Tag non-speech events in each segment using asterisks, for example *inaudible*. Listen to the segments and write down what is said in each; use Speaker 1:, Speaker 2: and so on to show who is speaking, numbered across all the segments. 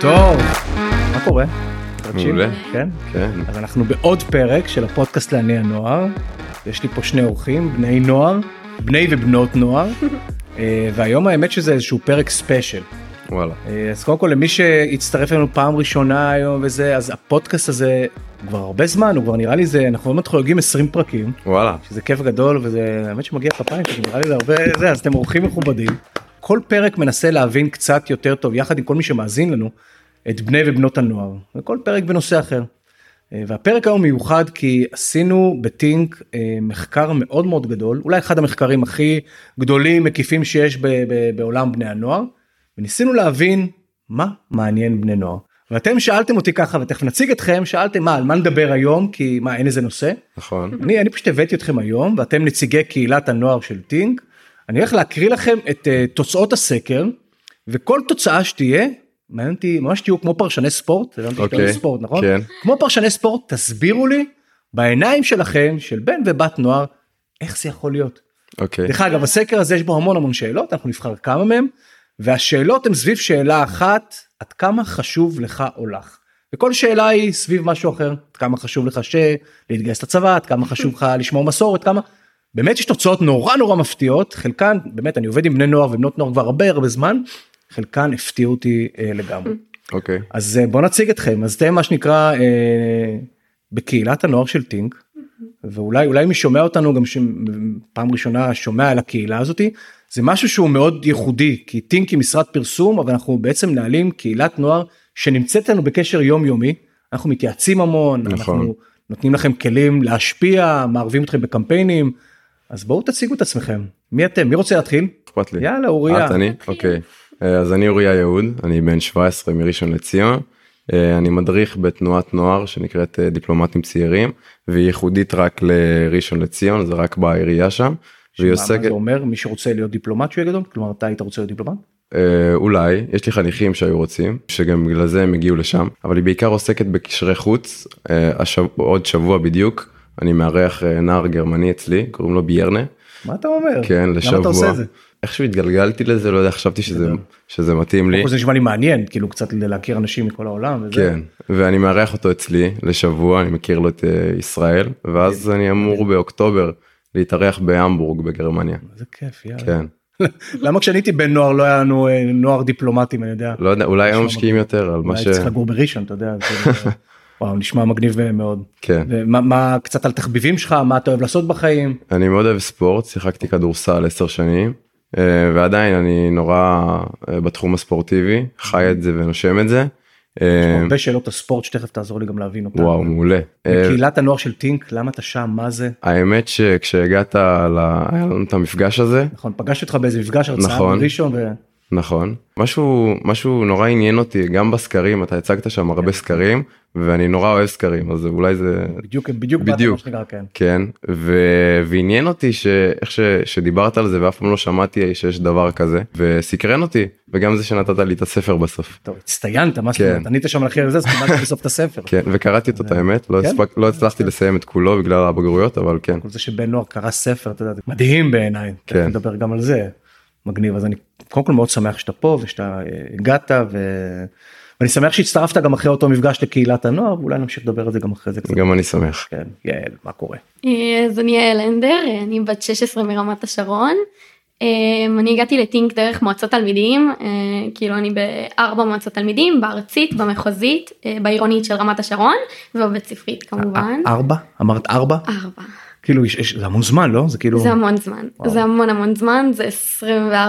Speaker 1: טוב, מה קורה? תקשיב,
Speaker 2: מעולה.
Speaker 1: כן?
Speaker 2: כן.
Speaker 1: אז אנחנו בעוד פרק של הפודקאסט לעני הנוער. יש לי פה שני אורחים, בני נוער, בני ובנות נוער, אה, והיום האמת שזה איזשהו פרק ספיישל.
Speaker 2: וואלה.
Speaker 1: אה, אז קודם כל למי שהצטרף אלינו פעם ראשונה היום וזה, אז הפודקאסט הזה כבר הרבה זמן, הוא כבר נראה לי זה, אנחנו באמת חוגגים 20 פרקים.
Speaker 2: וואלה.
Speaker 1: שזה כיף גדול וזה האמת שמגיע כפיים כי נראה לי זה הרבה זה אז אתם אורחים מכובדים. כל פרק מנסה להבין קצת יותר טוב יחד עם כל מי שמאזין לנו את בני ובנות הנוער וכל פרק בנושא אחר. אה, והפרק היום מיוחד כי עשינו בטינק אה, מחקר מאוד מאוד גדול אולי אחד המחקרים הכי גדולים מקיפים שיש ב- ב- בעולם בני הנוער וניסינו להבין מה מעניין בני נוער. ואתם שאלתם אותי ככה ותכף נציג אתכם שאלתם מה על מה נדבר היום כי מה אין איזה נושא
Speaker 2: נכון.
Speaker 1: אני, אני פשוט הבאתי אתכם היום ואתם נציגי קהילת הנוער של טינק. אני הולך להקריא לכם את uh, תוצאות הסקר וכל תוצאה שתהיה מעניין אותי ממש תהיו כמו פרשני ספורט, הבנתי שאתם
Speaker 2: אוקיי,
Speaker 1: ספורט נכון?
Speaker 2: כן.
Speaker 1: כמו פרשני ספורט תסבירו לי בעיניים שלכם של בן ובת נוער איך זה יכול להיות.
Speaker 2: אוקיי.
Speaker 1: דרך אגב הסקר הזה יש בו המון המון שאלות אנחנו נבחר כמה מהם והשאלות הן סביב שאלה אחת עד כמה חשוב לך או לך. וכל שאלה היא סביב משהו אחר עד כמה חשוב לך שלהתגייס לצבא עד כמה חשוב לך לשמור מסורת כמה. באמת יש תוצאות נורא נורא מפתיעות חלקן באמת אני עובד עם בני נוער ובנות נוער כבר הרבה הרבה זמן חלקן הפתיעו אותי אה, לגמרי.
Speaker 2: אוקיי.
Speaker 1: אז אה, בוא נציג אתכם אז אתם מה שנקרא אה, בקהילת הנוער של טינק ואולי אולי מי שומע אותנו גם שפעם ראשונה שומע על הקהילה הזאתי זה משהו שהוא מאוד ייחודי כי טינק היא משרד פרסום אבל אנחנו בעצם מנהלים קהילת נוער שנמצאת לנו בקשר יומיומי אנחנו מתייעצים המון
Speaker 2: נכון.
Speaker 1: אנחנו נותנים לכם כלים להשפיע מערבים אתכם בקמפיינים אז בואו תציגו את עצמכם מי אתם מי רוצה להתחיל
Speaker 2: אכפת לי.
Speaker 1: יאללה אוריה
Speaker 2: כן. את אני? אוקיי. אה, אז אני אוריה יהוד, אני בן 17 מראשון לציון. אה, אני מדריך בתנועת נוער שנקראת אה, דיפלומטים צעירים, והיא ייחודית רק לראשון לציון, זה רק בעירייה שם. והיא
Speaker 1: מה- מה
Speaker 2: עוסקת,
Speaker 1: זה אומר מי שרוצה להיות דיפלומט שהוא יהיה גדול כלומר אתה היית רוצה להיות דיפלומט.
Speaker 2: אה, אולי, יש לי חניכים שהיו רוצים, שגם בגלל זה הם הגיעו לשם, אבל היא בעיקר עוסקת בקשרי חוץ. אה, השב... עוד שבוע בדיוק, אני מארח אה, נער גרמני אצלי, קוראים לו ביארנה.
Speaker 1: מה אתה אומר?
Speaker 2: כן לשבוע.
Speaker 1: למה אתה עושה את זה?
Speaker 2: איכשהו התגלגלתי לזה לא יודע חשבתי שזה שזה מתאים לי
Speaker 1: קודם כל זה נשמע לי מעניין כאילו קצת להכיר אנשים מכל העולם וזה.
Speaker 2: כן ואני מארח אותו אצלי לשבוע אני מכיר לו את אה, ישראל ואז אני אמור באוקטובר להתארח בהמבורג בגרמניה
Speaker 1: זה כיף יאללה.
Speaker 2: כן
Speaker 1: למה כשאני הייתי בן נוער לא היה לנו אה, נוער דיפלומטים אני יודע.
Speaker 2: לא אה, יודע אולי היום
Speaker 1: נשמע
Speaker 2: משקיעים יותר על מה
Speaker 1: אולי
Speaker 2: ש...
Speaker 1: צריך לגור בראשון אתה יודע.
Speaker 2: *laughs*
Speaker 1: זה- וואו נשמע מגניב אה, מאוד.
Speaker 2: כן
Speaker 1: ומה מה- קצת על תחביבים שלך מה אתה אוהב לעשות בחיים.
Speaker 2: אני מאוד אוהב ספורט שיחקתי כדורסל 10 שנים אה, ועדיין אני נורא אה, בתחום הספורטיבי חי את זה ונושם את זה. אה,
Speaker 1: הרבה שאלות הספורט שתכף תעזור לי גם להבין אותן.
Speaker 2: וואו מעולה. אה,
Speaker 1: קהילת הנוער של טינק למה אתה שם מה זה
Speaker 2: האמת שכשהגעת ל... היה לנו את המפגש הזה
Speaker 1: נכון פגשתי אותך באיזה מפגש הרצאה
Speaker 2: נכון.
Speaker 1: בראשון ו-
Speaker 2: נכון משהו משהו נורא עניין אותי גם בסקרים אתה הצגת שם הרבה
Speaker 1: כן.
Speaker 2: סקרים ואני נורא אוהב סקרים אז אולי זה
Speaker 1: בדיוק בדיוק באת,
Speaker 2: בדיוק.
Speaker 1: מה שנקרא, כן.
Speaker 2: כן ו... ועניין אותי שאיך ש... שדיברת על זה ואף פעם לא שמעתי שיש דבר כזה וסקרן אותי וגם זה שנתת לי את הספר בסוף.
Speaker 1: טוב, הצטיינת מה זאת אומרת ענית שם על הכי זה אז קיבלתי בסוף את הספר.
Speaker 2: כן וקראתי אותו את האמת לא,
Speaker 1: כן?
Speaker 2: הספק... לא הצלחתי לסיים את כולו בגלל הבגרויות אבל כן
Speaker 1: כל זה שבן נוער קרא ספר אתה יודע, זה מדהים בעיניי
Speaker 2: כן.
Speaker 1: כן. נדבר גם על זה מגניב אז אני קודם כל מאוד שמח שאתה פה ושאתה אה, הגעת ו... ואני שמח שהצטרפת גם אחרי אותו מפגש לקהילת הנוער ואולי נמשיך לדבר על זה גם אחרי זה קצת.
Speaker 2: גם אני שמח.
Speaker 1: כן, יעל מה קורה
Speaker 3: אה, אז אני יעל הנדר, אה, אני בת 16 מרמת השרון. אה, אני הגעתי לטינק דרך מועצות תלמידים, אה, כאילו אני בארבע מועצות תלמידים, בארצית, במחוזית, אה, בעירונית של רמת השרון, ובבית ספרית כמובן.
Speaker 1: א- אה, ארבע אמרת ארבע
Speaker 3: ארבע.
Speaker 1: כאילו יש- יש- זה המון זמן לא זה כאילו
Speaker 3: אה. זה המון זמן,
Speaker 1: וואו.
Speaker 3: זה המון המון זמן, זה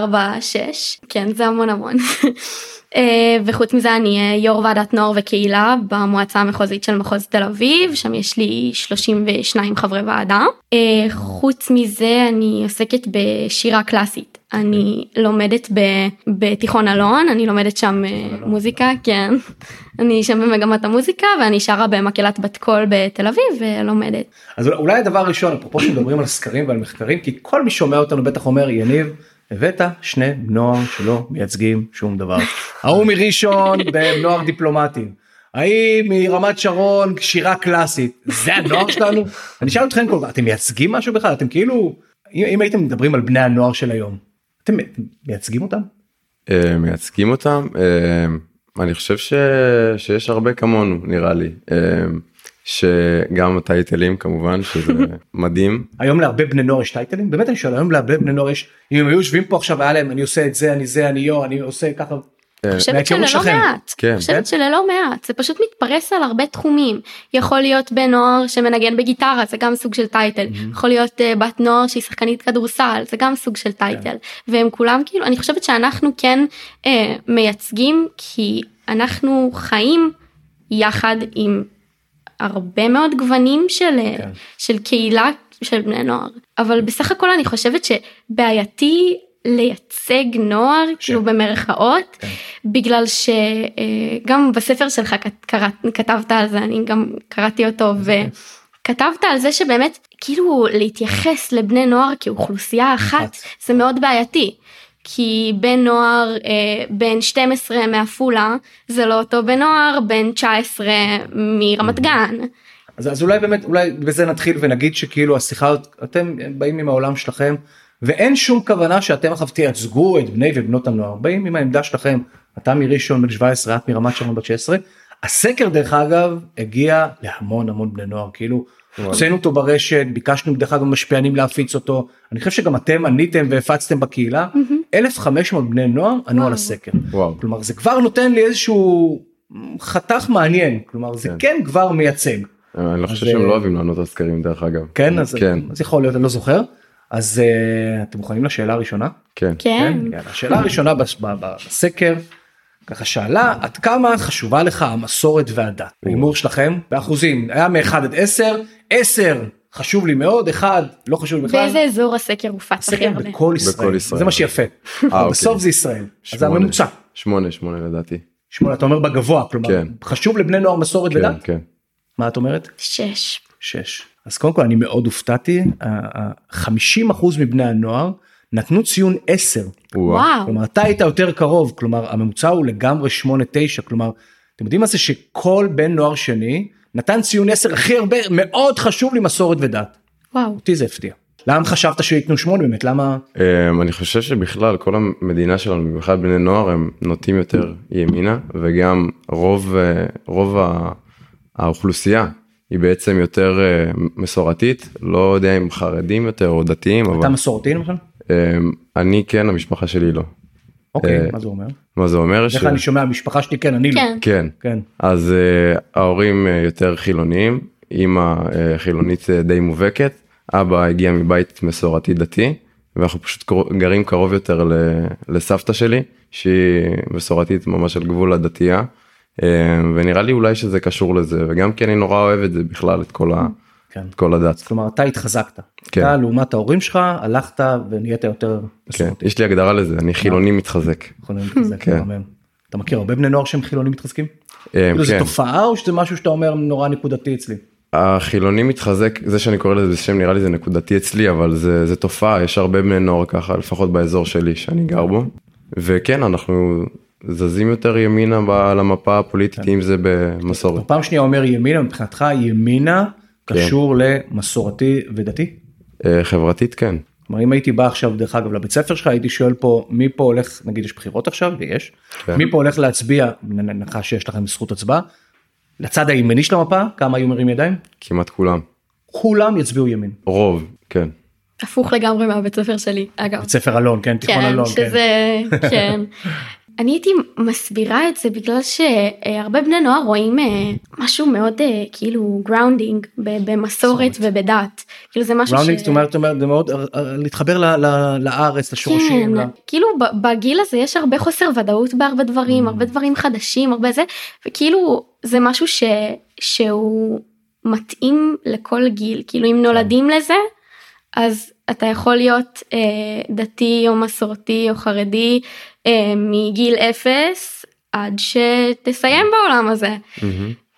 Speaker 3: 24-6, כן זה המון המון. *laughs* אה, וחוץ מזה אני אה, יו"ר ועדת נוער וקהילה במועצה המחוזית של מחוז תל אביב, שם יש לי 32 חברי ועדה. אה, חוץ מזה אני עוסקת בשירה קלאסית, אני
Speaker 1: אוקיי.
Speaker 3: לומדת ב- בתיכון אלון, אני לומדת שם אה, מוזיקה,
Speaker 1: נכון.
Speaker 3: כן. *laughs* אני שם במגמת המוזיקה ואני שרה במקהלת בת קול בתל אביב ולומדת.
Speaker 1: אז אולי- אולי הדבר הראשון אפרופו שמדברים על סקרים ועל מחקרים כי כל מי שומע אותנו בטח אומר יניב. הבאת שני בני נוער שלא מייצגים שום דבר. ההוא מראשון בנוער דיפלומטים. ההיא מרמת שרון שירה קלאסית. זה הנוער שלנו? אני אשאל אתכם כל כך, אתם מייצגים משהו בכלל? אתם כאילו, אם אם הייתם מדברים על בני הנוער של היום, אתם מ- מייצגים אותם?
Speaker 2: אה, מייצגים אותם אה, אני חושב ש... שיש הרבה כמונו נראה לי אה, שגם הטייטלים כמובן
Speaker 1: *laughs*
Speaker 2: שזה מדהים
Speaker 1: היום להרבה בני נוער יש טייטלים באמת אני שואל היום להרבה בני נוער יש אם הם היו יושבים פה עכשיו היה להם אני עושה את זה אני זה אני יו אני עושה ככה.
Speaker 3: אני חושבת
Speaker 1: אה, מההיכרות
Speaker 3: שללא
Speaker 1: שלכם.
Speaker 3: מעט,
Speaker 2: כן,
Speaker 3: אני חושבת שללא מעט, זה פשוט מתפרס על הרבה תחומים. יכול להיות בן נוער שמנגן בגיטרה, זה גם סוג של טייטל. יכול להיות אה, בת נוער שהיא שחקנית כדורסל, זה גם סוג של טייטל. והם כולם כאילו, אני חושבת שאנחנו כן אה, מייצגים, כי אנחנו חיים יחד עם הרבה מאוד גוונים של, אה,
Speaker 1: כן.
Speaker 3: של קהילה של בני נוער. אבל בסך הכל אני חושבת שבעייתי לייצג נוער,
Speaker 1: ש-
Speaker 3: כאילו במרכאות,
Speaker 1: כן.
Speaker 3: בגלל שגם בספר שלך כת- קראת- כתבת על זה, אני גם קראתי אותו, וכתבת על זה שבאמת, כאילו להתייחס לבני נוער כאוכלוסייה אחת,
Speaker 1: אחת.
Speaker 3: זה מאוד בעייתי. כי בן נוער אה, בן 12 מעפולה זה לא אותו בן נוער בן 19 מרמת
Speaker 1: אוקיי.
Speaker 3: גן.
Speaker 1: אז, אז אולי באמת אולי בזה נתחיל ונגיד שכאילו השיחה אתם באים עם העולם שלכם ואין שום כוונה שאתם עכשיו תייצגו את בני ובנות הנוער באים עם העמדה שלכם אתה מראשון בן 17 את מרמת שרון בת 16 הסקר דרך אגב הגיע להמון המון בני נוער כאילו הוצאנו אותו ברשת ביקשנו דרך אגב משפיענים להפיץ אותו אני חושב שגם אתם עניתם והפצתם בקהילה 1500 בני נוער ענו על
Speaker 3: וואו.
Speaker 1: הסקר
Speaker 2: וואו
Speaker 1: כלומר זה כבר נותן לי איזשהו חתך מעניין כלומר זה
Speaker 2: כן.
Speaker 1: כן כבר מייצג.
Speaker 2: אני לא חושב
Speaker 1: אז,
Speaker 2: שהם
Speaker 1: אה,
Speaker 2: לא אוהבים לענות על סקרים דרך אגב
Speaker 1: כן אז,
Speaker 2: כן
Speaker 1: אז יכול להיות אני לא זוכר אז uh, אתם מוכנים לשאלה הראשונה?
Speaker 2: כן
Speaker 3: כן.
Speaker 1: יאללה, השאלה הראשונה בס, ב, ב, בסקר ככה שאלה עד כמה חשובה לך המסורת והדת ההימור שלכם באחוזים היה מ-1 עד 10 10 חשוב לי מאוד 1 לא חשוב לי בכלל.
Speaker 3: באיזה אזור הסקר הופץ הכי
Speaker 1: סקר
Speaker 3: הרבה?
Speaker 1: בכל ישראל,
Speaker 2: בכל ישראל.
Speaker 1: זה מה שיפה
Speaker 2: אוקיי.
Speaker 1: בסוף זה ישראל אז זה
Speaker 2: שמונה.
Speaker 1: הממוצע
Speaker 2: שמונה שמונה לדעתי
Speaker 1: שמונה אתה אומר בגבוה כלומר
Speaker 2: כן.
Speaker 1: חשוב לבני נוער מסורת
Speaker 2: כן
Speaker 1: ודת
Speaker 2: כן
Speaker 1: מה את אומרת?
Speaker 3: שש.
Speaker 1: שש. אז קודם כל אני מאוד הופתעתי, ה- ה- 50% מבני הנוער נתנו ציון 10.
Speaker 2: כן. וואו.
Speaker 3: וואו.
Speaker 1: כלומר אתה היית יותר קרוב, כלומר הממוצע הוא לגמרי 8-9, כלומר אתם יודעים מה זה שכל בן נוער שני נתן ציון 10 הכי הרבה, מאוד חשוב לי מסורת ודת.
Speaker 3: וואו.
Speaker 1: אותי זה הפתיע. למה חשבת שייתנו 8 באמת? למה?
Speaker 2: Um, אני חושב שבכלל כל המדינה שלנו, במיוחד בני נוער, הם נוטים יותר ימינה, וגם רוב, אה, רוב ה- האוכלוסייה היא בעצם יותר אה, מסורתית, לא יודע אם חרדים יותר או דתיים, אבל
Speaker 1: אתה מסורתי למשל?
Speaker 2: um, אני כן, המשפחה שלי לא.
Speaker 1: אוקיי,
Speaker 2: אה,
Speaker 1: מה זה אומר?
Speaker 2: מה זה אומר?
Speaker 1: איך אני שומע המשפחה שלי כן, אני לא.
Speaker 3: כן.
Speaker 2: כן.
Speaker 1: כן.
Speaker 2: אז uh, ההורים uh, יותר חילוניים, אימא uh, חילונית uh, די מובהקת, אבא הגיע מבית מסורתי דתי, ואנחנו פשוט קרו- גרים קרוב יותר ל- לסבתא שלי, שהיא מסורתית ממש על גבול הדתייה, uh, ונראה לי אולי שזה קשור לזה, וגם כי אני נורא אוהב את זה בכלל, את כל, ה,
Speaker 1: כן.
Speaker 2: את כל הדת.
Speaker 1: כלומר אתה התחזקת.
Speaker 2: כן.
Speaker 1: אתה לעומת ההורים שלך הלכת ונהיית יותר
Speaker 2: כן,
Speaker 1: מסורתי.
Speaker 2: יש לי הגדרה לזה, אני חילוני מתחזק.
Speaker 1: יכולים להתחזק,
Speaker 2: כן.
Speaker 1: מהמם. אתה מכיר הרבה בני נוער שהם חילונים מתחזקים?
Speaker 2: Um,
Speaker 1: כאילו זה
Speaker 2: כן.
Speaker 1: תופעה או שזה משהו שאתה אומר נורא נקודתי אצלי?
Speaker 2: החילוני מתחזק זה שאני קורא לזה בשם נראה לי זה נקודתי אצלי אבל זה, זה תופעה יש הרבה בני נוער ככה לפחות באזור שלי שאני גר בו וכן אנחנו זזים יותר ימינה ב- על המפה
Speaker 1: כן.
Speaker 2: הפוליטית אם זה במסורת
Speaker 1: פעם שנייה אומר ימינה מבחינתך ימינה
Speaker 2: כן.
Speaker 1: קשור למסורתי ודתי?
Speaker 2: אה, חברתית כן
Speaker 1: כלומר אם הייתי בא עכשיו דרך אגב לבית ספר שלך הייתי שואל פה מי פה הולך נגיד יש בחירות עכשיו ויש
Speaker 2: כן.
Speaker 1: מי פה הולך להצביע בהנחה שיש לכם זכות הצבעה לצד הימני של המפה כמה היו מרים ידיים
Speaker 2: כמעט כולם
Speaker 1: כולם יצביעו ימין
Speaker 2: רוב כן
Speaker 3: הפוך לגמרי מהבית ספר שלי אגב.
Speaker 1: בית ספר אלון כן תיכון
Speaker 3: כן,
Speaker 1: אלון כן.
Speaker 3: שזה,
Speaker 1: *laughs*
Speaker 3: כן. אני הייתי מסבירה את זה בגלל שהרבה בני נוער רואים אה, משהו מאוד אה, כאילו גראונדינג במסורת ובדת. כאילו זה משהו
Speaker 1: ראונינג זאת אומרת זאת אומרת, זה מאוד אה, אה, להתחבר ל- ל- לארץ לשורשים. ל-
Speaker 3: כן, כאילו ב- בגיל הזה יש הרבה חוסר ודאות בהרבה דברים, הרבה דברים חדשים, הרבה זה, וכאילו זה משהו ש... שהוא מתאים לכל גיל, כאילו אם נולדים לזה, אז אתה יכול להיות אה, דתי או מסורתי או חרדי אה, מגיל אפס עד שתסיים בעולם הזה.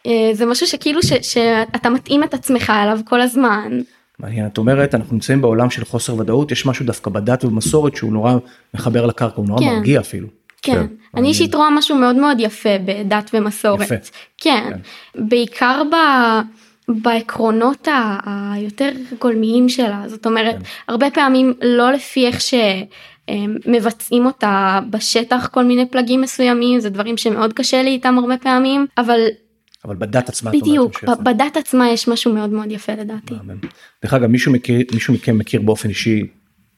Speaker 3: אה, זה משהו שכאילו ש, שאתה מתאים את עצמך אליו כל הזמן.
Speaker 1: מעניין, את אומרת, אנחנו נמצאים בעולם של חוסר ודאות, יש משהו דווקא בדת ובמסורת שהוא נורא מחבר לקרקע, הוא נורא
Speaker 3: כן.
Speaker 1: מרגיע אפילו.
Speaker 2: כן,
Speaker 3: כן, אני אישית רואה משהו מאוד מאוד יפה בדת ומסורת.
Speaker 1: יפה.
Speaker 3: כן, בעיקר ב... בעקרונות ה- היותר גולמיים שלה, זאת אומרת, הרבה פעמים לא לפי איך מבצעים אותה בשטח כל מיני פלגים מסוימים זה דברים שמאוד קשה לי איתם הרבה פעמים אבל
Speaker 1: אבל בדת עצמה את אומרת
Speaker 3: בדיוק
Speaker 1: משהו יפה.
Speaker 3: ב- בדת עצמה יש משהו מאוד מאוד יפה לדעתי.
Speaker 1: מהמם. דרך אגב מישהו מכיר מישהו מכם מכיר באופן אישי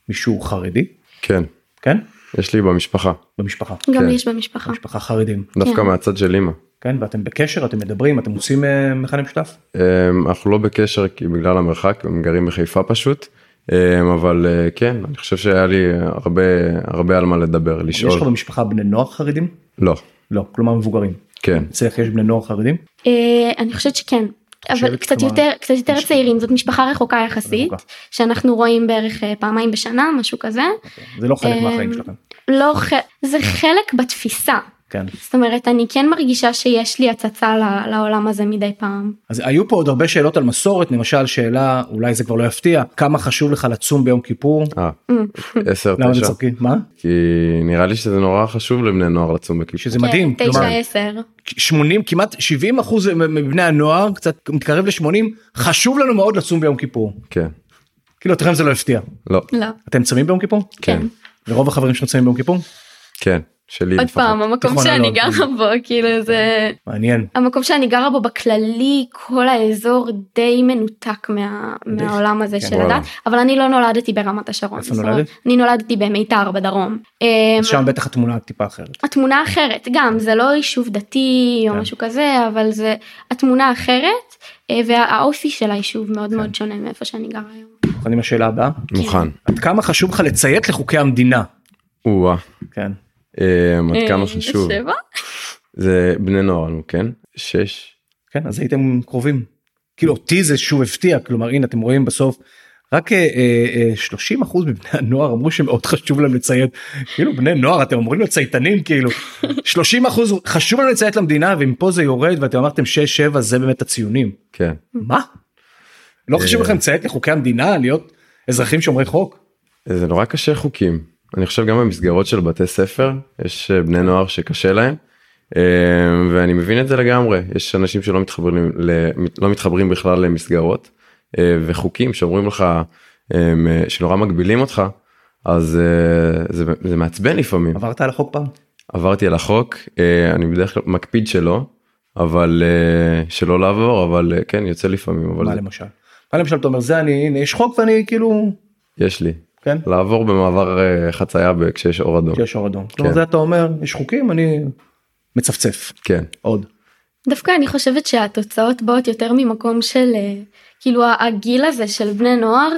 Speaker 1: מישהו חרדי
Speaker 2: כן,
Speaker 1: כן
Speaker 2: יש לי במשפחה,
Speaker 1: במשפחה
Speaker 3: גם
Speaker 2: כן.
Speaker 3: לי יש במשפחה.
Speaker 1: משפחה חרדים
Speaker 2: דווקא
Speaker 3: כן.
Speaker 2: מהצד של אימא.
Speaker 1: כן ואתם בקשר אתם מדברים אתם עושים אה, מכנה משותף
Speaker 2: אמ, אנחנו לא בקשר כי בגלל המרחק הם גרים בחיפה פשוט אמ, אבל אה, כן אני חושב שהיה לי הרבה הרבה על מה לדבר
Speaker 1: יש לך
Speaker 2: לשאול
Speaker 1: במשפחה בני נוער חרדים
Speaker 2: לא
Speaker 1: לא כלומר מבוגרים
Speaker 2: כן
Speaker 1: אצלך יש בני נוער חרדים
Speaker 3: אה, אני חושבת שכן. אבל
Speaker 1: חושבת,
Speaker 3: קצת
Speaker 1: כלומר,
Speaker 3: יותר קצת יותר
Speaker 1: מש-
Speaker 3: צעירים זאת משפחה רחוקה יחסית
Speaker 1: רחוקה.
Speaker 3: שאנחנו רואים בערך אה, פעמיים בשנה משהו כזה
Speaker 1: זה לא חלק
Speaker 3: אה,
Speaker 1: מהחיים שלכם
Speaker 3: לא ח- זה חלק בתפיסה
Speaker 1: כן
Speaker 3: זאת אומרת אני כן מרגישה שיש לי הצצה ל- לעולם הזה מדי פעם
Speaker 1: אז היו פה עוד הרבה שאלות על מסורת למשל שאלה אולי זה כבר לא יפתיע כמה חשוב לך לצום ביום כיפור
Speaker 2: אה,
Speaker 3: Mm.
Speaker 2: עשר
Speaker 1: למה אתם
Speaker 2: תשע
Speaker 1: צוחקים מה
Speaker 2: כי נראה לי שזה נורא חשוב לבני נוער לצום בכיפור.
Speaker 1: שזה מדהים
Speaker 3: כן,
Speaker 1: כלומר,
Speaker 3: תשע עשר
Speaker 1: 80 כמעט 70 אחוז מבני הנוער קצת מתקרב ל-80 חשוב לנו מאוד לצום ביום כיפור
Speaker 2: כן
Speaker 1: כאילו אתכם זה לא הפתיע
Speaker 2: לא
Speaker 3: לא
Speaker 1: אתם צמים ביום כיפור
Speaker 2: כן
Speaker 3: כן.
Speaker 1: ורוב החברים שלכם צמים ביום כיפור
Speaker 2: כן שלי
Speaker 3: עוד
Speaker 2: לפחות.
Speaker 3: פעם המקום
Speaker 1: תיכון
Speaker 3: שאני
Speaker 1: אלון.
Speaker 3: גרה בו כאילו
Speaker 1: כן.
Speaker 3: זה
Speaker 1: מעניין
Speaker 3: המקום שאני גרה בו בכללי כל האזור די מנותק מה,
Speaker 1: די.
Speaker 3: מהעולם הזה
Speaker 1: כן.
Speaker 3: של
Speaker 2: וואלה.
Speaker 3: הדת אבל אני לא נולדתי ברמת השרון.
Speaker 1: איפה
Speaker 3: זאת אומרת,
Speaker 1: נולדת?
Speaker 3: אני נולדתי במיתר בדרום. אמ,
Speaker 1: אז שם בטח התמונה טיפה אחרת
Speaker 3: התמונה אחרת גם זה לא יישוב דתי או
Speaker 1: כן.
Speaker 3: משהו כזה אבל זה התמונה אחרת אה, והאופי של היישוב
Speaker 1: כן.
Speaker 3: מאוד מאוד שונה מאיפה שאני גרה היום.
Speaker 1: מוכנים לשאלה הבאה
Speaker 3: אוקיי.
Speaker 2: מוכן.
Speaker 1: עד כמה חשוב לך לציית לחוקי המדינה
Speaker 2: או-אה.
Speaker 1: כן
Speaker 2: אמ, עד
Speaker 3: אה,
Speaker 2: כמה חשוב.
Speaker 3: שבע?
Speaker 2: זה בני נוער נו, כן? שש.
Speaker 1: כן אז הייתם קרובים כאילו אותי זה שוב הפתיע כלומר הנה אתם רואים בסוף. רק אה, אה, אה, 30 אחוז מבני הנוער אמרו שמאוד חשוב להם לציית כאילו בני נוער אתם אמורים להיות צייתנים כאילו 30 אחוז חשוב להם לציית למדינה ואם פה זה יורד ואתם אמרתם 6-7 זה באמת הציונים
Speaker 2: כן.
Speaker 1: מה? לא חשוב לכם לציית לחוקי המדינה להיות אזרחים שומרי חוק?
Speaker 2: זה נורא קשה חוקים. אני חושב גם במסגרות של בתי ספר יש אה, בני נוער שקשה להם. אמ, ואני מבין את זה לגמרי יש אנשים שלא מתחברים ל... לא מתחברים בכלל למסגרות אה, וחוקים שאומרים לך אמ, אה, שנורא מגבילים אותך אז אה, זה, זה מעצבן לפעמים
Speaker 1: עברת על החוק פעם?
Speaker 2: עברתי על החוק אה, אני בדרך כלל מקפיד שלא אבל אה, שלא לעבור אבל אה, כן יוצא לפעמים אבל
Speaker 1: מה
Speaker 2: זה-
Speaker 1: למשל? מה למשל אתה אומר זה אני הנה יש חוק ואני כאילו
Speaker 2: יש לי
Speaker 1: כן
Speaker 2: לעבור במעבר אה, חצייה ב- כשיש אור אדום
Speaker 1: שיש אור אדום. כלומר
Speaker 2: כן.
Speaker 1: זה אתה אומר יש חוקים אני מצפצף
Speaker 2: כן
Speaker 1: עוד.
Speaker 3: דווקא אני חושבת שהתוצאות באות יותר ממקום של אה, כאילו הגיל הזה של בני נוער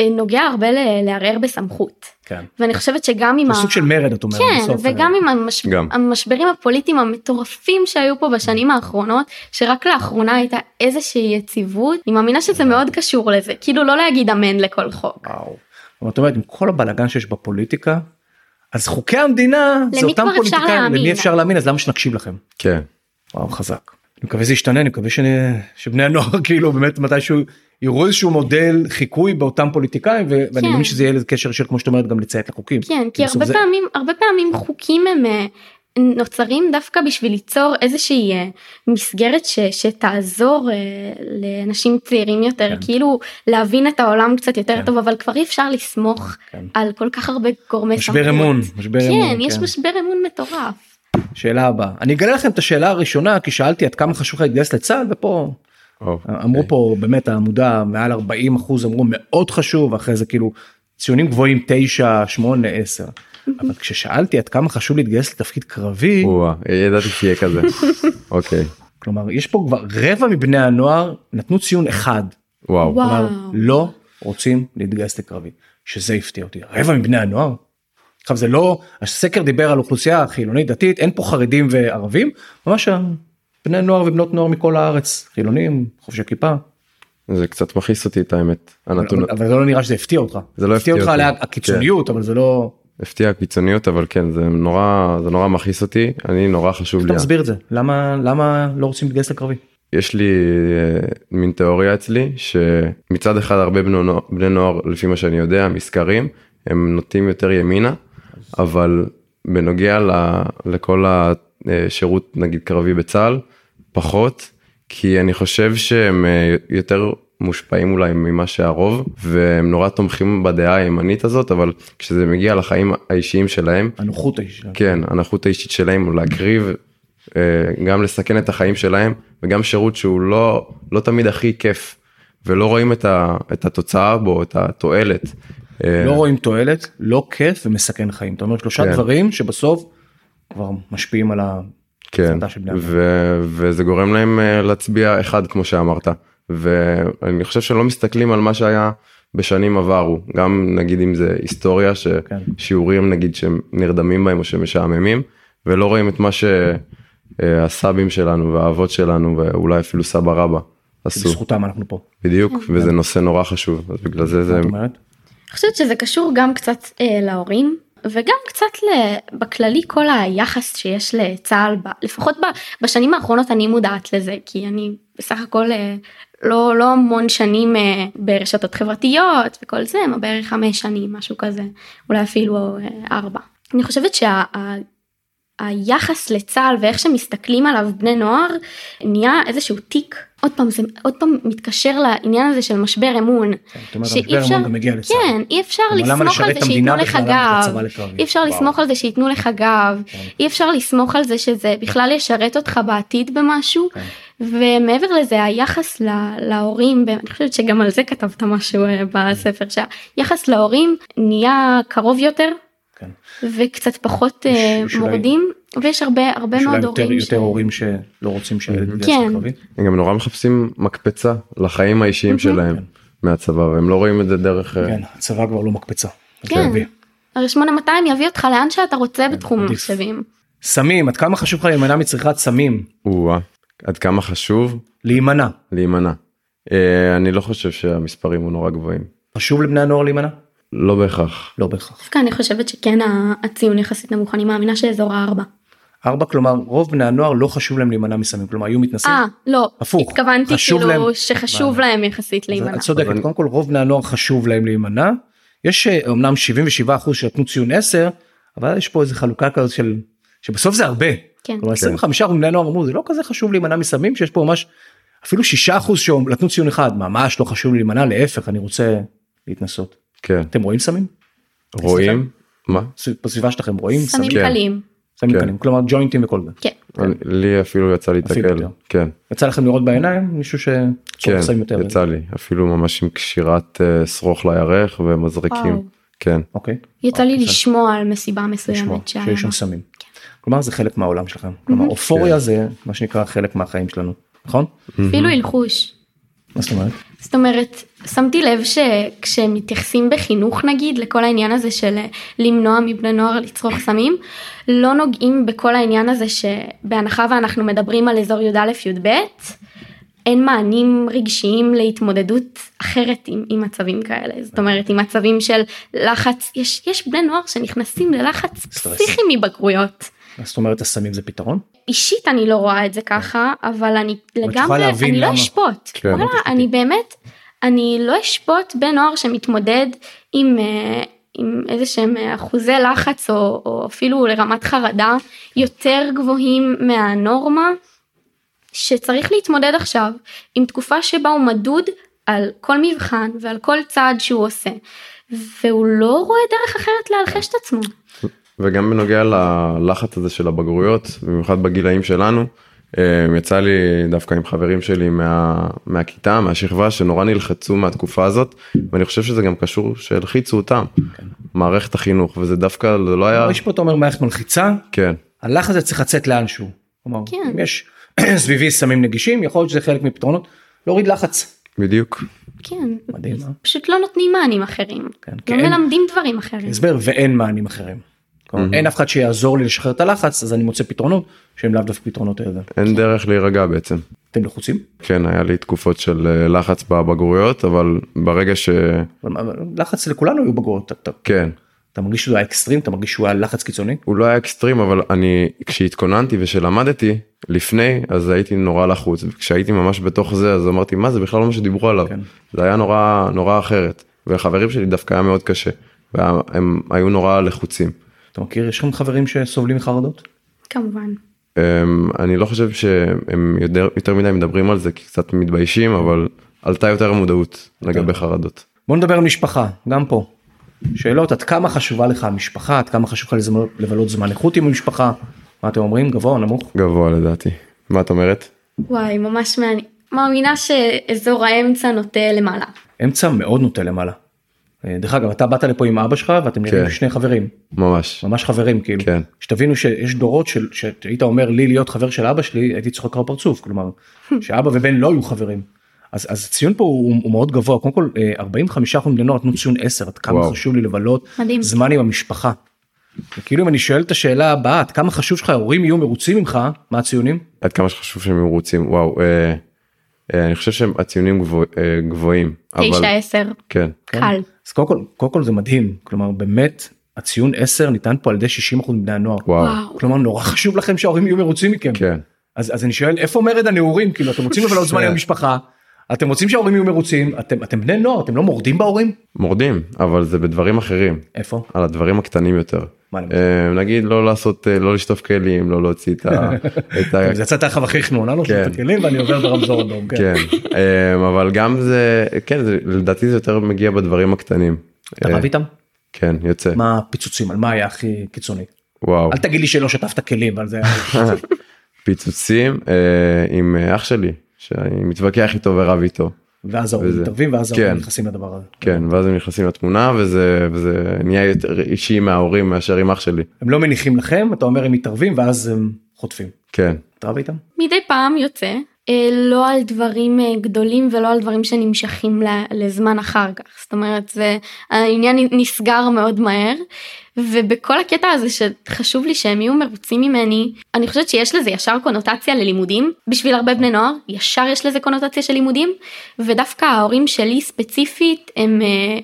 Speaker 3: אה, נוגע הרבה ל- לערער בסמכות
Speaker 1: כן.
Speaker 3: ואני חושבת שגם עם
Speaker 1: זה
Speaker 3: ה...
Speaker 1: סוג של מרד את אומרת.
Speaker 3: כן
Speaker 1: בסוף,
Speaker 3: וגם
Speaker 1: אה,
Speaker 3: עם המש...
Speaker 2: גם.
Speaker 3: המשברים הפוליטיים המטורפים שהיו פה בשנים האחרונות שרק לאחרונה הייתה איזושהי יציבות אני מאמינה שזה מאוד קשור לזה כאילו לא להגיד אמן לכל חוק.
Speaker 1: אה, וואו. אבל את אומרת עם כל הבלאגן שיש בפוליטיקה אז חוקי המדינה זה
Speaker 3: למי
Speaker 1: אותם
Speaker 3: כבר אפשר
Speaker 1: פוליטיקאים למי
Speaker 3: להאמין?
Speaker 1: אפשר להאמין אז למה שנקשיב לכם.
Speaker 2: כן
Speaker 1: וואו חזק. אני מקווה זה ישתנה אני מקווה שאני- שבני הנוער *laughs* כאילו באמת מתישהו יראו איזשהו מודל חיקוי באותם פוליטיקאים ו- ואני
Speaker 3: כן.
Speaker 1: מאמין שזה יהיה לזה קשר של כמו שאת אומרת גם לציית לחוקים.
Speaker 3: כן כי
Speaker 1: בסוף
Speaker 3: הרבה
Speaker 1: זה-
Speaker 3: פעמים הרבה פעמים חוקים הם אה, נוצרים דווקא בשביל ליצור איזושהי אה, מסגרת ש, שתעזור אה, לאנשים צעירים יותר
Speaker 1: כן.
Speaker 3: כאילו להבין את העולם קצת יותר
Speaker 1: כן.
Speaker 3: טוב אבל כבר אי אפשר לסמוך
Speaker 1: כן.
Speaker 3: על כל כך הרבה גורמי
Speaker 1: משבר אמון משבר אמון.
Speaker 3: כן יש משבר אמון מטורף.
Speaker 1: שאלה הבאה אני אגלה לכם את השאלה הראשונה כי שאלתי עד כמה חשוב לך להתגייס לצה"ל ופה
Speaker 2: או,
Speaker 1: אמרו
Speaker 2: אוקיי.
Speaker 1: פה באמת העמודה מעל 40 אחוז אמרו מאוד חשוב אחרי זה כאילו ציונים גבוהים 9 8 10 אבל כששאלתי עד כמה חשוב להתגייס לתפקיד קרבי
Speaker 2: או-אה, ידעתי שיהיה
Speaker 1: *laughs*
Speaker 2: כזה אוקיי
Speaker 1: כלומר יש פה כבר רבע מבני הנוער נתנו ציון אחד
Speaker 2: וואו
Speaker 3: וואו.
Speaker 1: כלומר לא רוצים להתגייס לקרבי שזה הפתיע אותי רבע מבני הנוער. עכשיו זה לא הסקר דיבר על אוכלוסייה חילונית דתית אין פה חרדים וערבים ממש בני נוער ובנות נוער מכל הארץ חילונים חובשי כיפה
Speaker 2: זה קצת מכעיס אותי את האמת הנתון
Speaker 1: אבל- אבל זה לא נראה שזה הפתיע אותך
Speaker 2: זה לא הפתיע
Speaker 1: אותך
Speaker 2: אותי. כן.
Speaker 1: על הקיצוניות אבל זה לא
Speaker 2: הפתיע הקיצוניות אבל כן זה נורא זה נורא מכעיס אותי אני נורא חשוב
Speaker 1: אתה
Speaker 2: לי
Speaker 1: מסביר את זה למה למה לא רוצים להתגייס לקרבי
Speaker 2: יש לי אה, מין תיאוריה אצלי שמצד אחד הרבה בני נוער, בני נוער לפי מה שאני יודע מסקרים הם נוטים יותר ימינה אבל בנוגע ל, לכל השירות נגיד קרבי בצה"ל פחות כי אני חושב שהם אה, יותר מושפעים אולי ממה שהרוב והם נורא תומכים בדעה הימנית הזאת אבל כשזה מגיע לחיים האישיים שלהם
Speaker 1: הנוחות האישית.
Speaker 2: כן הנכות האישית שלהם להקריב אה, גם לסכן את החיים שלהם וגם שירות שהוא לא לא תמיד הכי כיף ולא רואים את, ה, את התוצאה בו את התועלת. אה,
Speaker 1: לא רואים תועלת, לא כיף ומסכן חיים. אתה אומר שלושה
Speaker 2: כן.
Speaker 1: דברים שבסוף כבר משפיעים על ה...
Speaker 2: כן,
Speaker 1: הצתה של בני אדם.
Speaker 2: ו- וזה גורם להם אה, להצביע אחד כמו שאמרת ואני חושב שלא מסתכלים על מה שהיה בשנים עברו גם נגיד אם זה היסטוריה
Speaker 1: כן.
Speaker 2: ששיעורים נגיד שהם נרדמים בהם או שמשעממים ולא רואים את מה שהסבים שלנו והאבות שלנו ואולי אפילו סבא רבא עשו
Speaker 1: בזכותם אנחנו פה.
Speaker 2: בדיוק
Speaker 1: כן.
Speaker 2: וזה נושא נורא חשוב אז בגלל זה זה
Speaker 1: זאת אומרת,
Speaker 3: אני חושבת שזה קשור גם קצת אה, להורים וגם קצת ל... בכללי כל היחס שיש לצה"ל ב... לפחות ב... בשנים האחרונות אני מודעת לזה כי אני בסך הכל אה, לא לא המון שנים אה, ברשתות חברתיות וכל זה מה בערך חמש שנים משהו כזה אולי אפילו אה, ארבע. אני חושבת שה... ה- היחס לצה"ל ואיך שמסתכלים עליו בני נוער נהיה איזשהו תיק עוד פעם זה עוד פעם מתקשר לעניין הזה של משבר אמון
Speaker 1: כן, זאת אומרת,
Speaker 3: שאי
Speaker 1: המשבר
Speaker 3: אפשר-
Speaker 1: אמון גם מגיע לצה"ל.
Speaker 3: כן, אי אפשר
Speaker 1: אבל למה
Speaker 3: לסמוך
Speaker 1: לשרת
Speaker 3: על
Speaker 1: את
Speaker 3: זה
Speaker 1: המדינה
Speaker 3: שייתנו לך
Speaker 1: בכלל, למה את
Speaker 3: גב,
Speaker 1: הצבא לקרבי?
Speaker 3: אי אפשר
Speaker 2: וואו.
Speaker 3: לסמוך על זה שייתנו לך גב,
Speaker 1: כן.
Speaker 3: אי אפשר לסמוך על זה שזה בכלל ישרת אותך בעתיד במשהו,
Speaker 1: כן.
Speaker 3: ומעבר לזה היחס ל- להורים, ב- אני חושבת שגם על זה כתבת משהו אה, בספר, שהיחס להורים נהיה קרוב יותר.
Speaker 1: כן.
Speaker 3: וקצת פחות
Speaker 1: יש-
Speaker 3: אה,
Speaker 1: יש אולי-
Speaker 3: מורדים ויש הרבה הרבה
Speaker 1: יש אולי
Speaker 3: מאוד
Speaker 1: יותר-
Speaker 3: הורים ש-
Speaker 1: יותר הורים שלא רוצים שהילד יתגייס
Speaker 3: כן.
Speaker 1: לקרבי.
Speaker 2: הם גם נורא מחפשים מקפצה לחיים האישיים שלהם מהצבא והם לא רואים את זה דרך אה,
Speaker 1: כן, הצבא כבר לא מקפצה.
Speaker 3: כן.
Speaker 1: לקרבי.
Speaker 3: הרי 8200 יביא אותך לאן שאתה רוצה בתחום
Speaker 1: כן, עדיף.
Speaker 3: המחשבים.
Speaker 1: סמים, עד כמה חשוב לך להימנע מצריכת סמים?
Speaker 2: או-אה, עד כמה חשוב
Speaker 1: להימנע.
Speaker 2: להימנע. אה, אני לא חושב שהמספרים הוא נורא גבוהים.
Speaker 1: חשוב לבני הנוער להימנע?
Speaker 2: לא בהכרח.
Speaker 1: לא בהכרח.
Speaker 3: דווקא אני חושבת שכן ה- הציון יחסית נמוך אני מאמינה שאזור הארבע.
Speaker 1: ארבע, כלומר, רוב בני הנוער לא חשוב להם להימנע מסמים, כלומר, היו מתנסים.
Speaker 3: אה לא
Speaker 1: הפוך,
Speaker 3: התכוונתי
Speaker 1: חשוב
Speaker 3: כאילו
Speaker 1: להם-
Speaker 3: שחשוב להם יחסית
Speaker 1: אז
Speaker 3: להימנע.
Speaker 1: את צודקת,
Speaker 2: אבל-
Speaker 1: קודם כל רוב בני הנוער חשוב להם להימנע. יש אה, אומנם 77% שנתנו ציון 10, אבל יש פה איזה חלוקה כזאת של, שבסוף זה הרבה.
Speaker 3: כן.
Speaker 1: כלומר 25 אחוז מבני הנוער אמרו זה לא כזה חשוב להימנע מסמים שיש פה ממש אפילו 6 אחוז שנתנו ציון אחד ממש לא חשוב לי להימנע להפך אני רוצה להתנסות.
Speaker 2: כן.
Speaker 1: אתם רואים סמים?
Speaker 2: רואים? מה?
Speaker 1: ס- בסביבה שלכם רואים
Speaker 3: סמים
Speaker 1: סמים?
Speaker 2: כן.
Speaker 3: קלים.
Speaker 1: סמים
Speaker 2: כן.
Speaker 1: קלים כלומר ג'וינטים וכל זה.
Speaker 3: כן.
Speaker 2: אני- לי אפילו יצא
Speaker 1: אפילו
Speaker 2: להתקל.
Speaker 1: יותר.
Speaker 2: כן.
Speaker 1: יצא לכם לראות בעיניים מישהו
Speaker 2: כן.
Speaker 1: שצורך סמים יותר?
Speaker 2: יצא לי. אפילו ממש עם קשירת אה, שרוך לירך
Speaker 3: וואו.
Speaker 2: ומזרקים. כן.
Speaker 1: אוקיי.
Speaker 3: יצא לי
Speaker 1: אוקיי,
Speaker 3: לשמוע על מסיבה
Speaker 1: לשמוע
Speaker 3: מסוימת שהיה.
Speaker 1: שיש שם
Speaker 3: בה.
Speaker 1: סמים. כלומר זה חלק מהעולם שלכם. כלומר אופוריה זה מה שנקרא חלק מהחיים שלנו נכון?
Speaker 3: אפילו הלחוש.
Speaker 1: מה זאת אומרת?
Speaker 3: זאת אומרת שמתי לב שכשמתייחסים בחינוך נגיד לכל העניין הזה של אה, למנוע מבני נוער לצרוך סמים לא נוגעים בכל העניין הזה שבהנחה ואנחנו מדברים על אזור י"א-י"ב אין מענים רגשיים להתמודדות אחרת עם, עם מצבים כאלה זאת אומרת עם מצבים של לחץ יש יש בני נוער שנכנסים ללחץ
Speaker 1: סטרס.
Speaker 3: פסיכי מבגרויות.
Speaker 1: זאת אומרת הסמים זה פתרון?
Speaker 3: אישית אני לא רואה את זה ככה אבל אני
Speaker 1: יכולה
Speaker 3: לגמרי
Speaker 1: להבין
Speaker 3: אני לא
Speaker 1: למה.
Speaker 3: אשפוט
Speaker 2: כן,
Speaker 3: וואלה,
Speaker 2: לא תשפוטי.
Speaker 3: אני באמת אני לא אשפוט בן נוער שמתמודד עם אה, עם איזה שהם אה, אחוזי לחץ או, או אפילו לרמת חרדה יותר גבוהים מהנורמה שצריך להתמודד עכשיו עם תקופה שבה הוא מדוד על כל מבחן ועל כל צעד שהוא עושה והוא לא רואה דרך אחרת להלחש את עצמו.
Speaker 2: וגם בנוגע ללחץ הזה של הבגרויות במיוחד בגילאים שלנו אה, יצא לי דווקא עם חברים שלי מה, מהכיתה מהשכבה שנורא נלחצו מהתקופה הזאת ואני חושב שזה גם קשור שהלחיצו אותם מערכת החינוך וזה דווקא זה לא היה
Speaker 1: יש פה אתה אומר מערכת מלחיצה
Speaker 2: כן
Speaker 1: הלחץ הזה צריך לצאת לאנשהו. כלומר,
Speaker 3: כן.
Speaker 1: אם יש *clears throat* סביבי סמים נגישים, יכול להיות שזה חלק מפתרונות, להוריד לחץ.
Speaker 2: בדיוק
Speaker 3: כן.
Speaker 1: מדהים, אה?
Speaker 3: פשוט לא נותנים מענים אחרים.
Speaker 1: כן, כי
Speaker 3: לא
Speaker 1: אין-
Speaker 3: מלמדים דברים אחרים.
Speaker 1: הסבר, ואין מענים אחרים. כלומר, אין אף אחד שיעזור לי לשחרר את הלחץ, אז אני מוצא פתרונות שהם לאו דווקא פתרונות האלה.
Speaker 2: אין דרך להירגע בעצם.
Speaker 1: אתם לחוצים?
Speaker 2: כן היה לי תקופות של אה, לחץ בבגרויות אבל ברגע ש...
Speaker 1: אבל מה- לחץ לכולנו היו בגרות. אתה- אתה-
Speaker 2: כן
Speaker 1: אתה מרגיש שזה היה אקסטרים? אתה מרגיש שהוא היה לחץ קיצוני?
Speaker 2: הוא לא היה אקסטרים אבל אני כשהתכוננתי ושלמדתי לפני אז הייתי נורא לחוץ וכשהייתי ממש בתוך זה אז אמרתי מה זה בכלל לא מה שדיברו עליו
Speaker 1: כן.
Speaker 2: זה היה נורא נורא אחרת וחברים שלי דווקא היה מאוד קשה והם היו נורא לחוצים.
Speaker 1: אתה מכיר, יש לכם חברים שסובלים מחרדות?
Speaker 3: כמובן.
Speaker 2: אמ, אני לא חושב שהם יותר, יותר מדי מדברים על זה כי קצת מתביישים אבל עלתה יותר המודעות לגבי חרדות.
Speaker 1: בוא נדבר על משפחה, גם פה. שאלות, עד כמה חשובה לך המשפחה, עד כמה חשוב לך לזמ- לבלות זמן איכות עם המשפחה, מה אתם אומרים, גבוה או נמוך?
Speaker 2: גבוה לדעתי. מה את אומרת?
Speaker 3: וואי, ממש מעניין. מאמינה שאזור האמצע נוטה למעלה.
Speaker 1: אמצע מאוד נוטה למעלה. אה, דרך אגב, אתה באת לפה עם אבא שלך ואתם נראים
Speaker 2: כן.
Speaker 1: שני חברים,
Speaker 2: ממש.
Speaker 1: ממש חברים כאילו.
Speaker 2: כן.
Speaker 1: שתבינו שיש דורות של, שהיית אומר לי להיות חבר של אבא שלי, הייתי צוחק לך בפרצוף,
Speaker 2: *laughs*
Speaker 1: כלומר, שאבא ובן לא היו חברים. אז, אז הציון פה הוא, הוא מאוד גבוה, קודם כל אה, 45% מבני נוער נתנו ציון 10, עד כמה
Speaker 2: וואו.
Speaker 1: חשוב לי לבלות
Speaker 3: מדהים.
Speaker 1: זמן עם המשפחה. וכאילו אם אני שואל את השאלה הבאה, עד כמה חשוב שלך, ההורים יהיו מרוצים ממך, מה הציונים?
Speaker 2: עד כמה שחשוב שהם מרוצים. וואו. אה, אה, אני חושב שהציונים גבוה- אה, גבוהים. אבל-
Speaker 3: תשע עשר,
Speaker 2: כן.
Speaker 3: קל.
Speaker 1: אז קודם כל, קודם כל זה מדהים, כלומר באמת הציון 10 ניתן פה על ידי 60% מבני הנוער.
Speaker 2: וואו.
Speaker 3: וואו.
Speaker 1: כלומר נורא חשוב לכם שההורים יהיו מרוצים מכם.
Speaker 2: כן.
Speaker 1: אז, אז אני שואל איפה מרד הנעורים כאילו אתם רוצים לבלות
Speaker 2: *laughs*
Speaker 1: זמן עם המשפחה אתם רוצים שההורים יהיו מרוצים אתם אתם בני נוער אתם לא מורדים בהורים
Speaker 2: מורדים אבל זה בדברים אחרים.
Speaker 1: איפה
Speaker 2: על הדברים הקטנים יותר.
Speaker 1: מה למשל?
Speaker 2: אה, נגיד לא לעשות אה, לא לשטוף כלים לא להוציא
Speaker 1: *laughs*
Speaker 2: את ה... את ה-
Speaker 1: זה יצא תחת החייכנו אני לא עושה את
Speaker 2: כן.
Speaker 1: הכלים ואני עובר ברמזור
Speaker 2: *laughs*
Speaker 1: אדום כן.
Speaker 2: כן אה, אבל גם זה כן זה לדעתי זה יותר מגיע בדברים הקטנים.
Speaker 1: אתה
Speaker 2: אה,
Speaker 1: רב איתם
Speaker 2: כן יוצא
Speaker 1: מה הפיצוצים על מה היה הכי קיצוני
Speaker 2: וואו
Speaker 1: אל תגיד לי שלא שטפת כלים על זה
Speaker 2: *laughs* פיצוצים אה, עם אה, אח שלי שאני מתווכח איתו ורב איתו
Speaker 1: ואז ההורים
Speaker 2: וזה-
Speaker 1: מתערבים ואז ההורים
Speaker 2: כן.
Speaker 1: נכנסים לדבר הזה
Speaker 2: כן ואז הם נכנסים לתמונה וזה וזה נהיה יותר אישי מההורים מאשר עם אח שלי
Speaker 1: הם לא מניחים לכם אתה אומר הם מתערבים ואז הם חוטפים
Speaker 2: כן
Speaker 1: אתה רב איתם
Speaker 3: מדי פעם יוצא, אה, לא על דברים אה, גדולים ולא על דברים שנמשכים ל- לזמן אחר כך. זאת אומרת, זה, העניין נסגר מאוד מהר, ובכל הקטע הזה שחשוב לי שהם יהיו מרוצים ממני, אני חושבת שיש לזה ישר קונוטציה ללימודים, בשביל הרבה בני נוער, ישר יש לזה קונוטציה של לימודים, ודווקא ההורים שלי ספציפית הם... אה,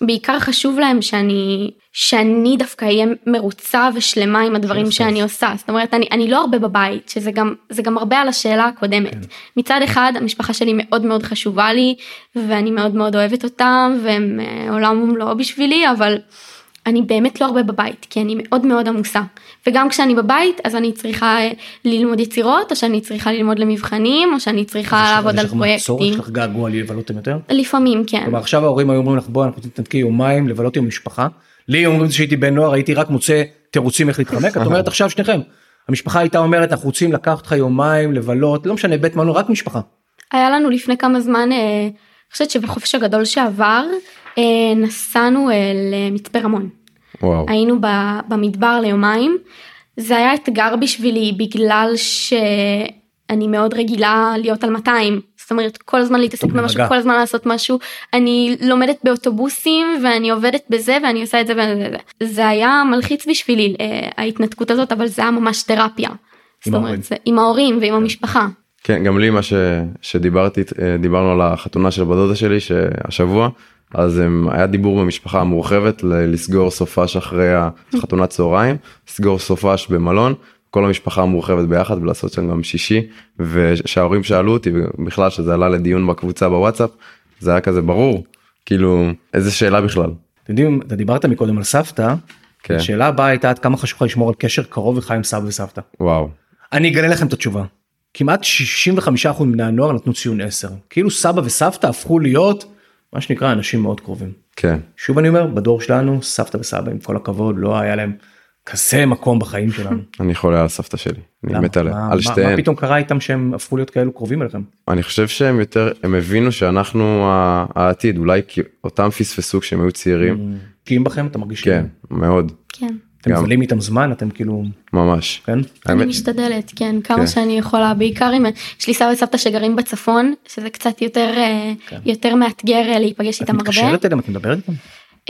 Speaker 3: בעיקר חשוב להם שאני שאני דווקא אהיה מרוצה ושלמה עם הדברים שאני עושה זאת אומרת אני אני לא הרבה בבית שזה גם זה גם הרבה על השאלה הקודמת
Speaker 1: כן.
Speaker 3: מצד אחד המשפחה שלי מאוד מאוד חשובה לי ואני מאוד מאוד אוהבת אותם והם אה, עולם ומלואו בשבילי אבל אני באמת לא הרבה בבית כי אני מאוד מאוד עמוסה וגם כשאני בבית אז אני צריכה אה, ללמוד יצירות או שאני צריכה ללמוד למבחנים או שאני צריכה לעבוד
Speaker 1: יש
Speaker 3: על
Speaker 1: לך מצור, יש
Speaker 3: פרויקטים
Speaker 1: לך געגוע לבלותם יותר
Speaker 3: לפעמים כן
Speaker 1: כלומר עכשיו ההורים היו אומרים לך בוא אנחנו תתנתקי יומיים לבלות עם המשפחה. לי היו אומרים שהייתי בן נוער הייתי רק מוצא תירוצים איך להתחמק את אומרת עכשיו שניכם. המשפחה הייתה אומרת אנחנו רוצים לקחת אותך יומיים לבלות לא משנה בית מלון רק משפחה.
Speaker 3: היה לנו לפני כמה זמן, אה, אני חושבת שבחופש הגדול שעבר, אה, נסענו אה, למצפה רמון.
Speaker 2: וואו
Speaker 3: היינו ב- במדבר ליומיים. זה היה אתגר בשבילי בגלל שאני מאוד רגילה להיות על 200. זאת אומרת, כל הזמן להתעסק
Speaker 1: במגע.
Speaker 3: במשהו, כל הזמן לעשות משהו. אני לומדת באוטובוסים ואני עובדת בזה ואני עושה את זה וזה. וזה. זה היה מלחיץ בשבילי אה, ההתנתקות הזאת, אבל זה היה ממש תרפיה. זאת
Speaker 1: ההורים.
Speaker 3: אומרת, זה- עם ההורים ועם המשפחה.
Speaker 2: כן גם לי מה ש, שדיברתי אה, דיברנו על החתונה של בת דודה שלי שהשבוע אז הם, היה דיבור במשפחה המורחבת ל- לסגור סופש אחרי החתונת צהריים לסגור סופש במלון כל המשפחה המורחבת ביחד ולעשות שם גם שישי ושההורים שאלו אותי בכלל שזה עלה לדיון בקבוצה בוואטסאפ זה היה כזה ברור כאילו איזה שאלה בכלל.
Speaker 1: אתם יודעים אתה דיברת מקודם על סבתא.
Speaker 2: כן.
Speaker 1: השאלה הבאה הייתה עד כמה חשוב לך לשמור על קשר קרוב וחי עם סבא וסבתא.
Speaker 2: וואו
Speaker 1: אני אגלה לכם את התשובה. כמעט 65% מבני הנוער נתנו ציון 10. כאילו סבא וסבתא הפכו להיות מה שנקרא אנשים מאוד קרובים.
Speaker 2: כן
Speaker 1: שוב אני אומר בדור שלנו סבתא וסבא עם כל הכבוד לא היה להם כזה מקום בחיים שלנו.
Speaker 2: אני חולה על סבתא שלי אני
Speaker 1: למה?
Speaker 2: מת עליה
Speaker 1: מה-
Speaker 2: על
Speaker 1: מה- מה
Speaker 2: שתיהן.
Speaker 1: פתאום קרה איתם שהם הפכו להיות כאלו קרובים אליכם?
Speaker 2: אני חושב שהם יותר הם הבינו שאנחנו ה- העתיד אולי כי אותם פספסו כשהם היו צעירים
Speaker 1: פגיעים בכם אתה מרגיש?
Speaker 2: כן מאוד
Speaker 3: כן.
Speaker 1: אתם
Speaker 2: גם.
Speaker 1: מבלים איתם זמן אתם כאילו
Speaker 2: ממש
Speaker 1: כן?
Speaker 3: אני
Speaker 2: האמת-
Speaker 3: משתדלת כן כמה
Speaker 2: כן.
Speaker 3: שאני יכולה בעיקר אם יש לי סבא וסבתא שגרים בצפון שזה קצת יותר אה, יותר מאתגר אה, להיפגש
Speaker 1: את
Speaker 3: איתם הרבה.
Speaker 1: מתקשרת אליהם את מדברת איתם?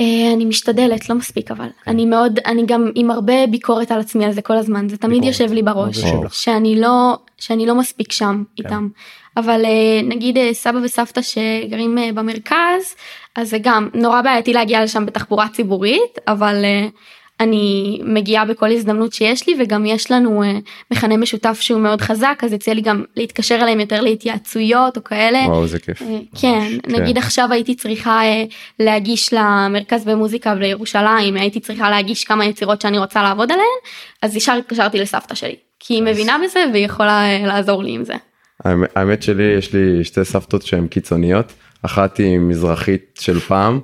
Speaker 3: אה, אני משתדלת לא מספיק אבל
Speaker 1: כן.
Speaker 3: אני מאוד אני גם עם הרבה ביקורת על עצמי על זה כל הזמן זה תמיד
Speaker 1: ביקורת.
Speaker 3: יושב לי בראש
Speaker 1: מאוד יושב לך. כן.
Speaker 3: שאני לא שאני לא מספיק שם איתם אבל אה, נגיד אה, סבא וסבתא שגרים אה, במרכז אז זה גם נורא בעייתי להגיע לשם בתחבורה ציבורית אבל. אה, אני מגיעה בכל הזדמנות שיש לי וגם יש לנו אה, מכנה משותף שהוא מאוד חזק אז יצא לי גם להתקשר אליהם יותר להתייעצויות או כאלה.
Speaker 2: וואו זה כיף
Speaker 3: אה, כן,
Speaker 2: כן.
Speaker 3: נגיד עכשיו הייתי צריכה אה, להגיש למרכז במוזיקה בירושלים, הייתי צריכה להגיש כמה יצירות שאני רוצה לעבוד עליהן, אז ישר התקשרתי לסבתא שלי, כי היא מבינה בזה והיא יכולה אה, לעזור לי עם זה.
Speaker 2: האמת- האמת שלי יש לי שתי סבתות שהן קיצוניות אחת היא מזרחית של פעם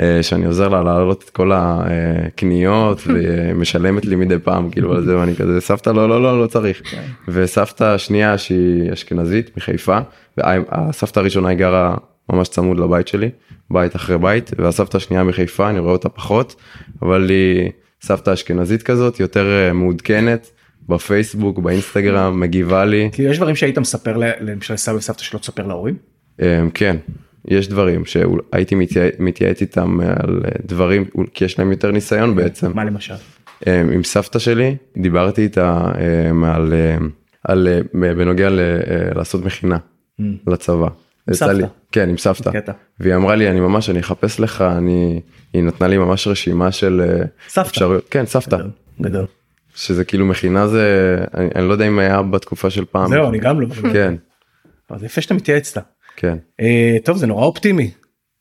Speaker 2: אה, שאני עוזר לה להעלות את כל הקניות ומשלמת לי מדי פעם כאילו על זה ואני כזה סבתא לא לא לא לא צריך וסבתא שנייה שהיא אשכנזית מחיפה והסבתא הראשונה היא גרה ממש צמוד לבית שלי בית אחרי בית והסבתא השנייה מחיפה אני רואה אותה פחות אבל היא סבתא אשכנזית כזאת יותר אה, מעודכנת בפייסבוק באינסטגרם מגיבה לי
Speaker 1: כאילו יש דברים שהיית מספר ל- למשל לסבא וסבתא שלא תספר להורים?
Speaker 2: אמ, כן, יש דברים שהייתי מתייעץ איתם על אה, דברים, כי יש להם יותר ניסיון בעצם.
Speaker 1: מה למשל?
Speaker 2: אמ, עם סבתא שלי, דיברתי איתה אמ, על, אמ, על, אה, בנוגע ל- אה, לעשות מכינה לצבא. יצא
Speaker 1: Mm. סבתא.
Speaker 2: לי- כן, עם סבתא.
Speaker 1: קטע.
Speaker 2: והיא אמרה לי, אני ממש, אני אחפש לך, אני... היא נתנה לי ממש רשימה של אה,
Speaker 1: סבתא.
Speaker 2: אפשרויות. כן, סבתא.
Speaker 1: גדול.
Speaker 2: שזה כאילו מכינה זה, אני, אני לא יודע אם היה בתקופה של פעם.
Speaker 1: זהו אני גם לא.
Speaker 2: כן,
Speaker 1: אבל זה יפה שאתה מתייעץ איתה.
Speaker 2: כן.
Speaker 1: אה, טוב זה נורא אופטימי.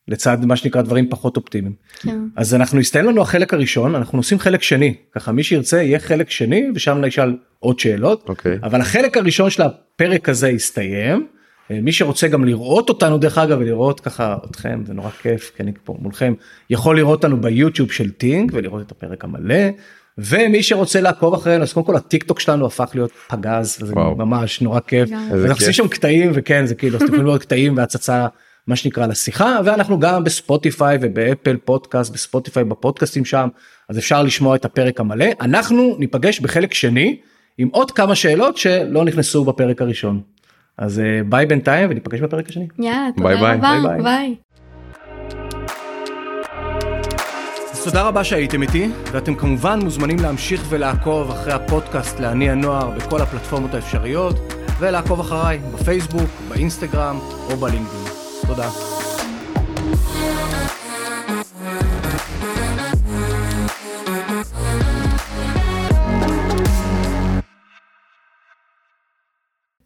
Speaker 1: לצד מה שנקרא דברים פחות אופטימיים.
Speaker 3: כן.
Speaker 1: אז אנחנו הסתיים לנו החלק הראשון אנחנו עושים חלק שני ככה מי שירצה יהיה חלק שני ושם נשאל עוד שאלות
Speaker 2: אוקיי.
Speaker 1: אבל החלק הראשון של הפרק הזה הסתיים. אה, מי שרוצה גם לראות אותנו דרך אגב ולראות ככה אתכם זה נורא כיף כי אני פה מולכם יכול לראות אותנו ביוטיוב של טינק ולראות את הפרק המלא. ומי שרוצה לעקוב אחרינו אז קודם כל הטיק טוק שלנו הפך להיות פגז זה
Speaker 2: וואו.
Speaker 1: ממש נורא כיף.
Speaker 3: איזה
Speaker 1: אז אנחנו
Speaker 2: כיף.
Speaker 1: עושים שם קטעים וכן זה כאילו אז אתם יכולים לראות קטעים והצצה מה שנקרא לשיחה ואנחנו גם בספוטיפיי ובאפל פודקאסט בספוטיפיי בפודקאסטים שם אז אפשר לשמוע את הפרק המלא אנחנו ניפגש בחלק שני עם עוד כמה שאלות שלא נכנסו בפרק הראשון. אז אה, ביי בינתיים וניפגש בפרק השני.
Speaker 3: יאללה,
Speaker 2: ביי ביי,
Speaker 3: תודה רבה,
Speaker 1: ביי ביי.
Speaker 3: ביי.
Speaker 1: אז תודה רבה שהייתם איתי, ואתם כמובן מוזמנים להמשיך ולעקוב אחרי הפודקאסט לעני הנוער בכל הפלטפורמות האפשריות, ולעקוב אחריי בפייסבוק, באינסטגרם או בלינקדאין. תודה.